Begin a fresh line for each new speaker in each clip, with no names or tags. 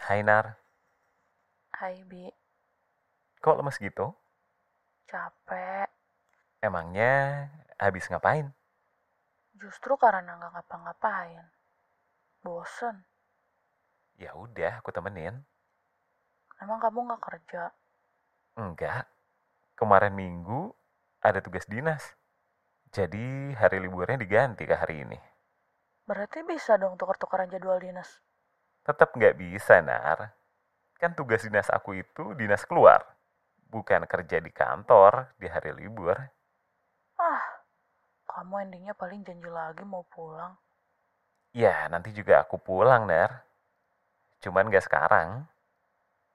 Hai Nar,
Hai Bi,
kok lemes gitu?
capek.
Emangnya habis ngapain?
Justru karena nggak ngapa-ngapain. Bosen.
Ya udah, aku temenin.
Emang kamu nggak kerja?
Enggak. Kemarin minggu ada tugas dinas. Jadi hari liburnya diganti ke hari ini.
Berarti bisa dong tuker-tukeran jadwal dinas.
Tetap nggak bisa, Nar. Kan tugas dinas aku itu dinas keluar. Bukan kerja di kantor di hari libur.
Ah, kamu endingnya paling janji lagi mau pulang.
Ya, nanti juga aku pulang, Nar. Cuman nggak sekarang.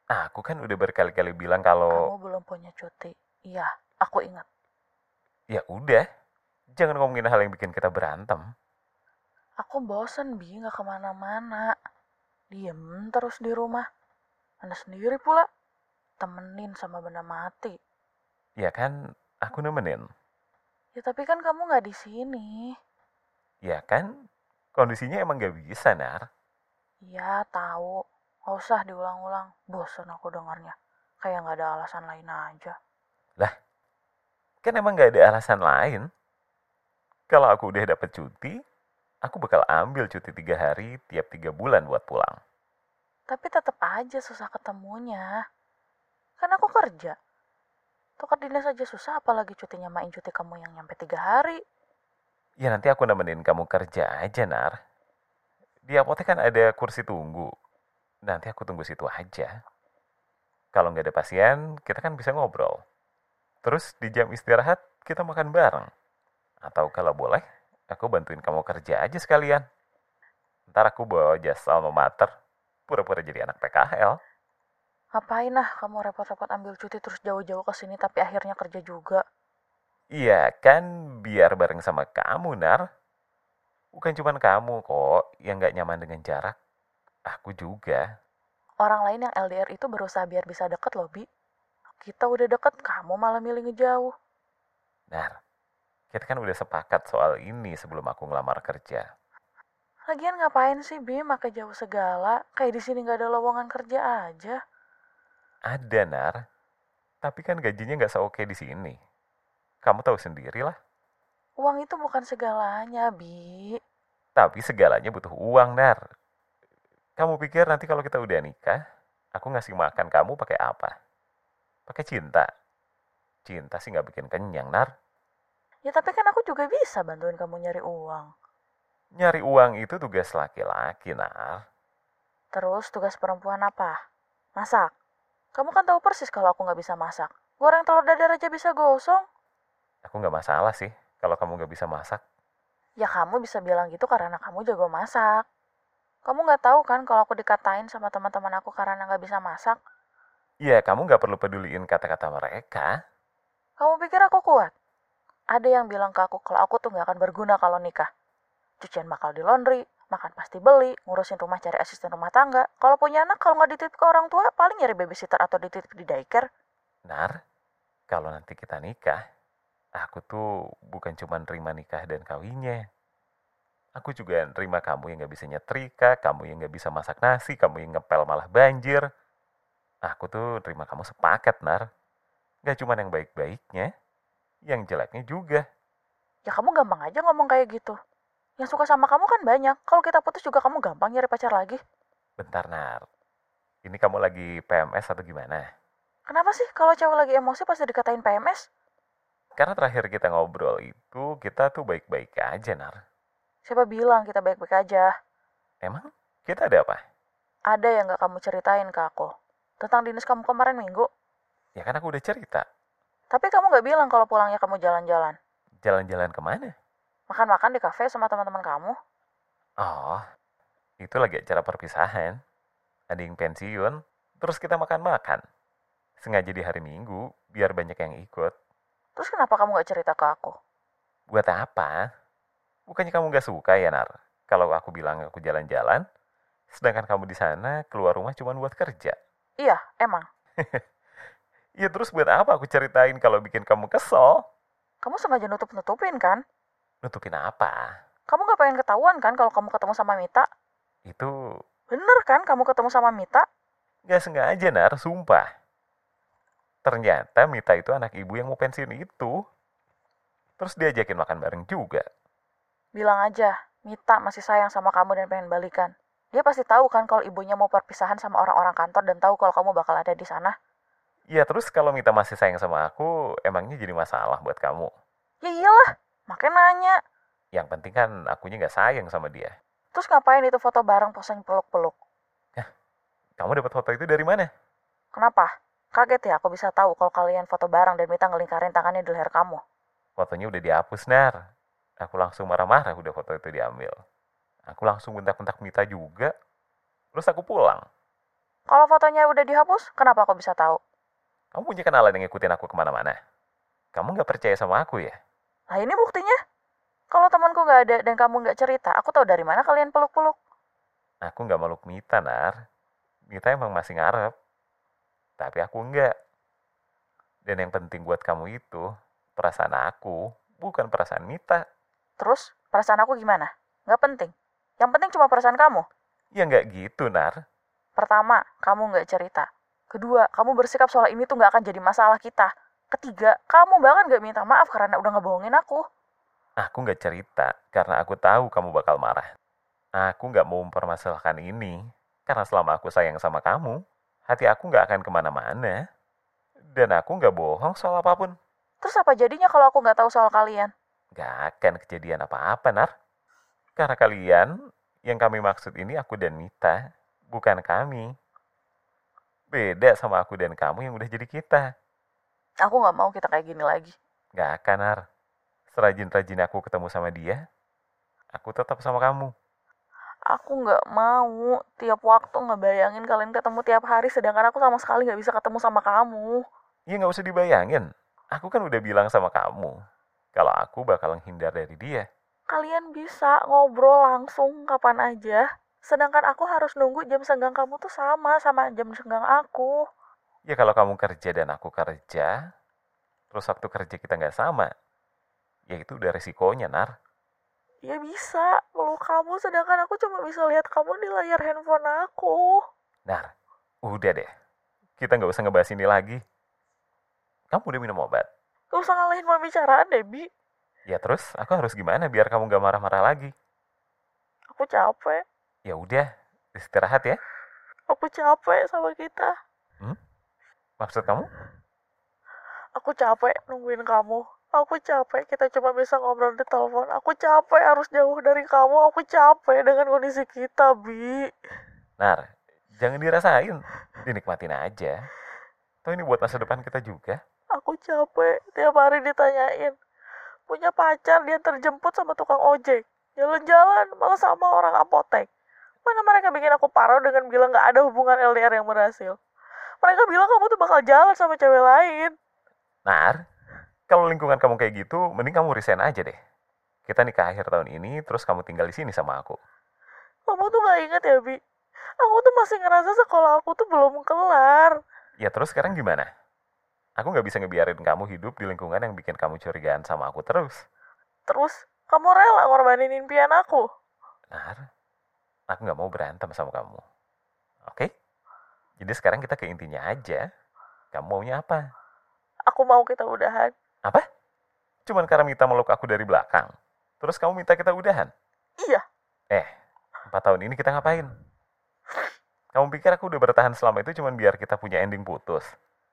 Aku kan udah berkali-kali bilang kalau...
Kamu belum punya cuti. Iya, aku ingat.
Ya udah, jangan ngomongin hal yang bikin kita berantem.
Aku bosen Bi, nggak kemana-mana. Diem terus di rumah. Anda sendiri pula. Temenin sama benda mati.
Ya kan, aku nemenin.
Ya tapi kan kamu nggak di sini.
Ya kan, kondisinya emang gak bisa, Nar.
Ya, tahu. Nggak usah diulang-ulang. Bosan aku dengarnya. Kayak nggak ada alasan lain aja.
Kan emang gak ada alasan lain. Kalau aku udah dapet cuti, aku bakal ambil cuti tiga hari tiap tiga bulan buat pulang.
Tapi tetap aja susah ketemunya. Kan aku kerja. Tukar dinas aja susah, apalagi cuti nyamain cuti kamu yang nyampe tiga hari.
Ya nanti aku nemenin kamu kerja aja, Nar. Di apotek kan ada kursi tunggu. Nanti aku tunggu situ aja. Kalau nggak ada pasien, kita kan bisa ngobrol. Terus di jam istirahat, kita makan bareng. Atau kalau boleh, aku bantuin kamu kerja aja sekalian. Ntar aku bawa jas alma mater, pura-pura jadi anak PKL.
Ngapain ah kamu repot-repot ambil cuti terus jauh-jauh ke sini tapi akhirnya kerja juga.
Iya kan, biar bareng sama kamu, Nar. Bukan cuman kamu kok yang nggak nyaman dengan jarak. Aku juga.
Orang lain yang LDR itu berusaha biar bisa deket loh, Bi. Kita udah deket, kamu malah milih ngejauh.
Nar, kita kan udah sepakat soal ini sebelum aku ngelamar kerja.
Lagian ngapain sih Bi makai jauh segala? Kayak di sini nggak ada lowongan kerja aja.
Ada, Nar. Tapi kan gajinya nggak seoke di sini. Kamu tahu sendirilah.
Uang itu bukan segalanya, Bi.
Tapi segalanya butuh uang, Nar. Kamu pikir nanti kalau kita udah nikah, aku ngasih makan kamu pakai apa? Pakai cinta. Cinta sih nggak bikin kenyang, Nar.
Ya tapi kan aku juga bisa bantuin kamu nyari uang.
Nyari uang itu tugas laki-laki, Nar.
Terus tugas perempuan apa? Masak. Kamu kan tahu persis kalau aku nggak bisa masak. Goreng telur dadar aja bisa gosong.
Aku nggak masalah sih kalau kamu nggak bisa masak.
Ya kamu bisa bilang gitu karena kamu jago masak. Kamu nggak tahu kan kalau aku dikatain sama teman-teman aku karena nggak bisa masak?
Iya, kamu nggak perlu peduliin kata-kata mereka.
Kamu pikir aku kuat? Ada yang bilang ke aku kalau aku tuh nggak akan berguna kalau nikah. Cucian bakal di laundry, makan pasti beli, ngurusin rumah cari asisten rumah tangga. Kalau punya anak, kalau nggak dititip ke orang tua, paling nyari babysitter atau dititip di daycare.
Nar, kalau nanti kita nikah, aku tuh bukan cuma nerima nikah dan kawinnya. Aku juga nerima kamu yang gak bisa nyetrika, kamu yang gak bisa masak nasi, kamu yang ngepel malah banjir. Aku tuh nerima kamu sepaket, Nar. Gak cuma yang baik-baiknya, yang jeleknya juga.
Ya kamu gampang aja ngomong kayak gitu. Yang suka sama kamu kan banyak. Kalau kita putus juga kamu gampang nyari pacar lagi.
Bentar, Nar. Ini kamu lagi PMS atau gimana?
Kenapa sih kalau cewek lagi emosi pasti dikatain PMS?
Karena terakhir kita ngobrol itu, kita tuh baik-baik aja, Nar.
Siapa bilang kita baik-baik aja?
Emang kita ada apa?
Ada yang nggak kamu ceritain ke aku? Tentang dinas kamu kemarin minggu?
Ya kan aku udah cerita.
Tapi kamu nggak bilang kalau pulangnya kamu jalan-jalan.
Jalan-jalan kemana?
Makan-makan di kafe sama teman-teman kamu.
Oh, itu lagi acara perpisahan. Ada yang pensiun, terus kita makan-makan. Sengaja di hari Minggu, biar banyak yang ikut.
Terus kenapa kamu nggak cerita ke aku?
Buat apa? Bukannya kamu nggak suka ya, Nar? Kalau aku bilang aku jalan-jalan, sedangkan kamu di sana keluar rumah cuma buat kerja.
Iya, emang.
Ya terus buat apa aku ceritain kalau bikin kamu kesel?
Kamu sengaja nutup-nutupin kan?
Nutupin apa?
Kamu nggak pengen ketahuan kan kalau kamu ketemu sama Mita?
Itu
Bener kan kamu ketemu sama Mita?
Nggak sengaja, Nar, sumpah. Ternyata Mita itu anak ibu yang mau pensiun itu. Terus diajakin makan bareng juga.
Bilang aja, Mita masih sayang sama kamu dan pengen balikan. Dia pasti tahu kan kalau ibunya mau perpisahan sama orang-orang kantor dan tahu kalau kamu bakal ada di sana.
Ya terus kalau Mita masih sayang sama aku, emangnya jadi masalah buat kamu.
Ya iyalah, makanya nanya.
Yang penting kan akunya nggak sayang sama dia.
Terus ngapain itu foto bareng posing peluk-peluk?
Kamu dapat foto itu dari mana?
Kenapa? Kaget ya aku bisa tahu kalau kalian foto bareng dan Mita ngelingkarin tangannya di leher kamu.
Fotonya udah dihapus, Nar. Aku langsung marah-marah udah foto itu diambil. Aku langsung bentak-bentak Mita juga. Terus aku pulang.
Kalau fotonya udah dihapus, kenapa aku bisa tahu?
Kamu punya kenalan yang ngikutin aku kemana-mana. Kamu nggak percaya sama aku ya?
Nah ini buktinya. Kalau temanku nggak ada dan kamu nggak cerita, aku tahu dari mana kalian peluk-peluk.
Aku nggak meluk Mita, Nar. Mita emang masih ngarep. Tapi aku nggak. Dan yang penting buat kamu itu, perasaan aku, bukan perasaan Mita.
Terus perasaan aku gimana? Nggak penting. Yang penting cuma perasaan kamu.
Ya nggak gitu, Nar.
Pertama, kamu nggak cerita. Kedua, kamu bersikap soal ini tuh nggak akan jadi masalah kita. Ketiga, kamu bahkan nggak minta maaf karena udah ngebohongin aku.
Aku nggak cerita karena aku tahu kamu bakal marah. Aku nggak mau mempermasalahkan ini karena selama aku sayang sama kamu, hati aku nggak akan kemana-mana. Dan aku nggak bohong soal apapun.
Terus apa jadinya kalau aku nggak tahu soal kalian?
Gak akan kejadian apa-apa, Nar. Karena kalian, yang kami maksud ini aku dan Mita, bukan kami. Beda sama aku dan kamu yang udah jadi kita.
Aku nggak mau kita kayak gini lagi.
Gak akan, Nar. Serajin-rajin aku ketemu sama dia, aku tetap sama kamu.
Aku nggak mau tiap waktu ngebayangin kalian ketemu tiap hari, sedangkan aku sama sekali nggak bisa ketemu sama kamu.
Ya nggak usah dibayangin. Aku kan udah bilang sama kamu, kalau aku bakal menghindar dari dia.
Kalian bisa ngobrol langsung kapan aja, sedangkan aku harus nunggu jam senggang kamu tuh sama sama jam senggang aku.
Ya kalau kamu kerja dan aku kerja, terus waktu kerja kita nggak sama, ya itu udah resikonya, Nar.
Dia Ya bisa meluk kamu, sedangkan aku cuma bisa lihat kamu di layar handphone aku.
Nar, udah deh. Kita nggak usah ngebahas ini lagi. Kamu udah minum obat.
Gak usah ngalahin pembicaraan deh, Bi.
Ya terus, aku harus gimana biar kamu nggak marah-marah lagi?
Aku capek.
Ya udah, istirahat ya.
Aku capek sama kita.
Maksud kamu?
Aku capek nungguin kamu. Aku capek, kita cuma bisa ngobrol di telepon. Aku capek harus jauh dari kamu. Aku capek dengan kondisi kita, Bi.
Nar, jangan dirasain. Dinikmatin aja. Toh ini buat masa depan kita juga.
Aku capek tiap hari ditanyain. Punya pacar dia terjemput sama tukang ojek. Jalan-jalan malah sama orang apotek. Mana mereka bikin aku parah dengan bilang gak ada hubungan LDR yang berhasil. Mereka bilang kamu tuh bakal jalan sama cewek lain.
Nar, kalau lingkungan kamu kayak gitu, mending kamu resign aja deh. Kita nikah akhir tahun ini, terus kamu tinggal di sini sama aku.
Kamu tuh gak inget ya, Bi? Aku tuh masih ngerasa sekolah aku tuh belum kelar.
Ya terus sekarang gimana? Aku nggak bisa ngebiarin kamu hidup di lingkungan yang bikin kamu curigaan sama aku terus.
Terus, kamu rela ngorbanin impian aku?
Nar, aku nggak mau berantem sama kamu. Oke? Jadi sekarang kita ke intinya aja. Kamu maunya apa?
Aku mau kita udahan.
Cuman karena Mita meluk aku dari belakang. Terus kamu minta kita udahan. Eh,
Iya,
Empat tahun ini kita ngapain? Kamu pikir aku udah bertahan selama itu cuman biar kita punya ending putus?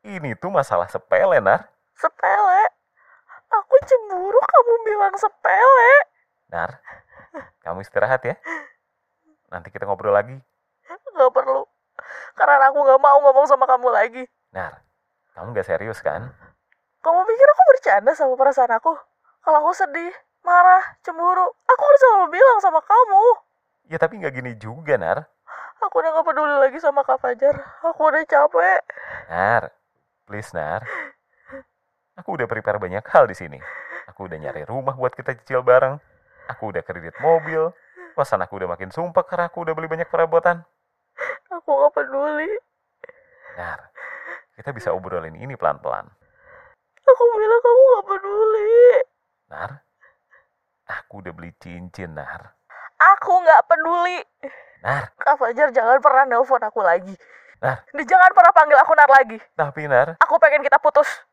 Ini tuh masalah sepele, Nar.
sepele. Aku cemburu kamu bilang sepele.
Nar, kamu istirahat ya. Nanti kita ngobrol lagi.
Gak perlu. Karena aku gak mau ngomong sama kamu lagi.
Nar, kamu gak serius kan?
Kamu pikir aku bercanda sama perasaan aku? Kalau aku sedih, marah, cemburu, aku harus selalu bilang sama kamu.
Ya tapi nggak gini juga, Nar.
Aku udah gak peduli lagi sama Kak Fajar. Aku udah capek.
Nar, please, Nar. Aku udah prepare banyak hal di sini. Aku udah nyari rumah buat kita cicil bareng. Aku udah kredit mobil. Kosan aku udah makin sumpah karena aku udah beli banyak perabotan.
Aku gak peduli.
Nar, kita bisa obrolin ini pelan-pelan.
Aku bilang kamu gak peduli.
Nar, aku udah beli cincin, Nar.
Aku gak peduli.
Nar,
Kak Fajar jangan pernah nelpon aku lagi.
Nar.
Di jangan pernah panggil aku Nar lagi.
Tapi Nar,
Aku pengen kita putus.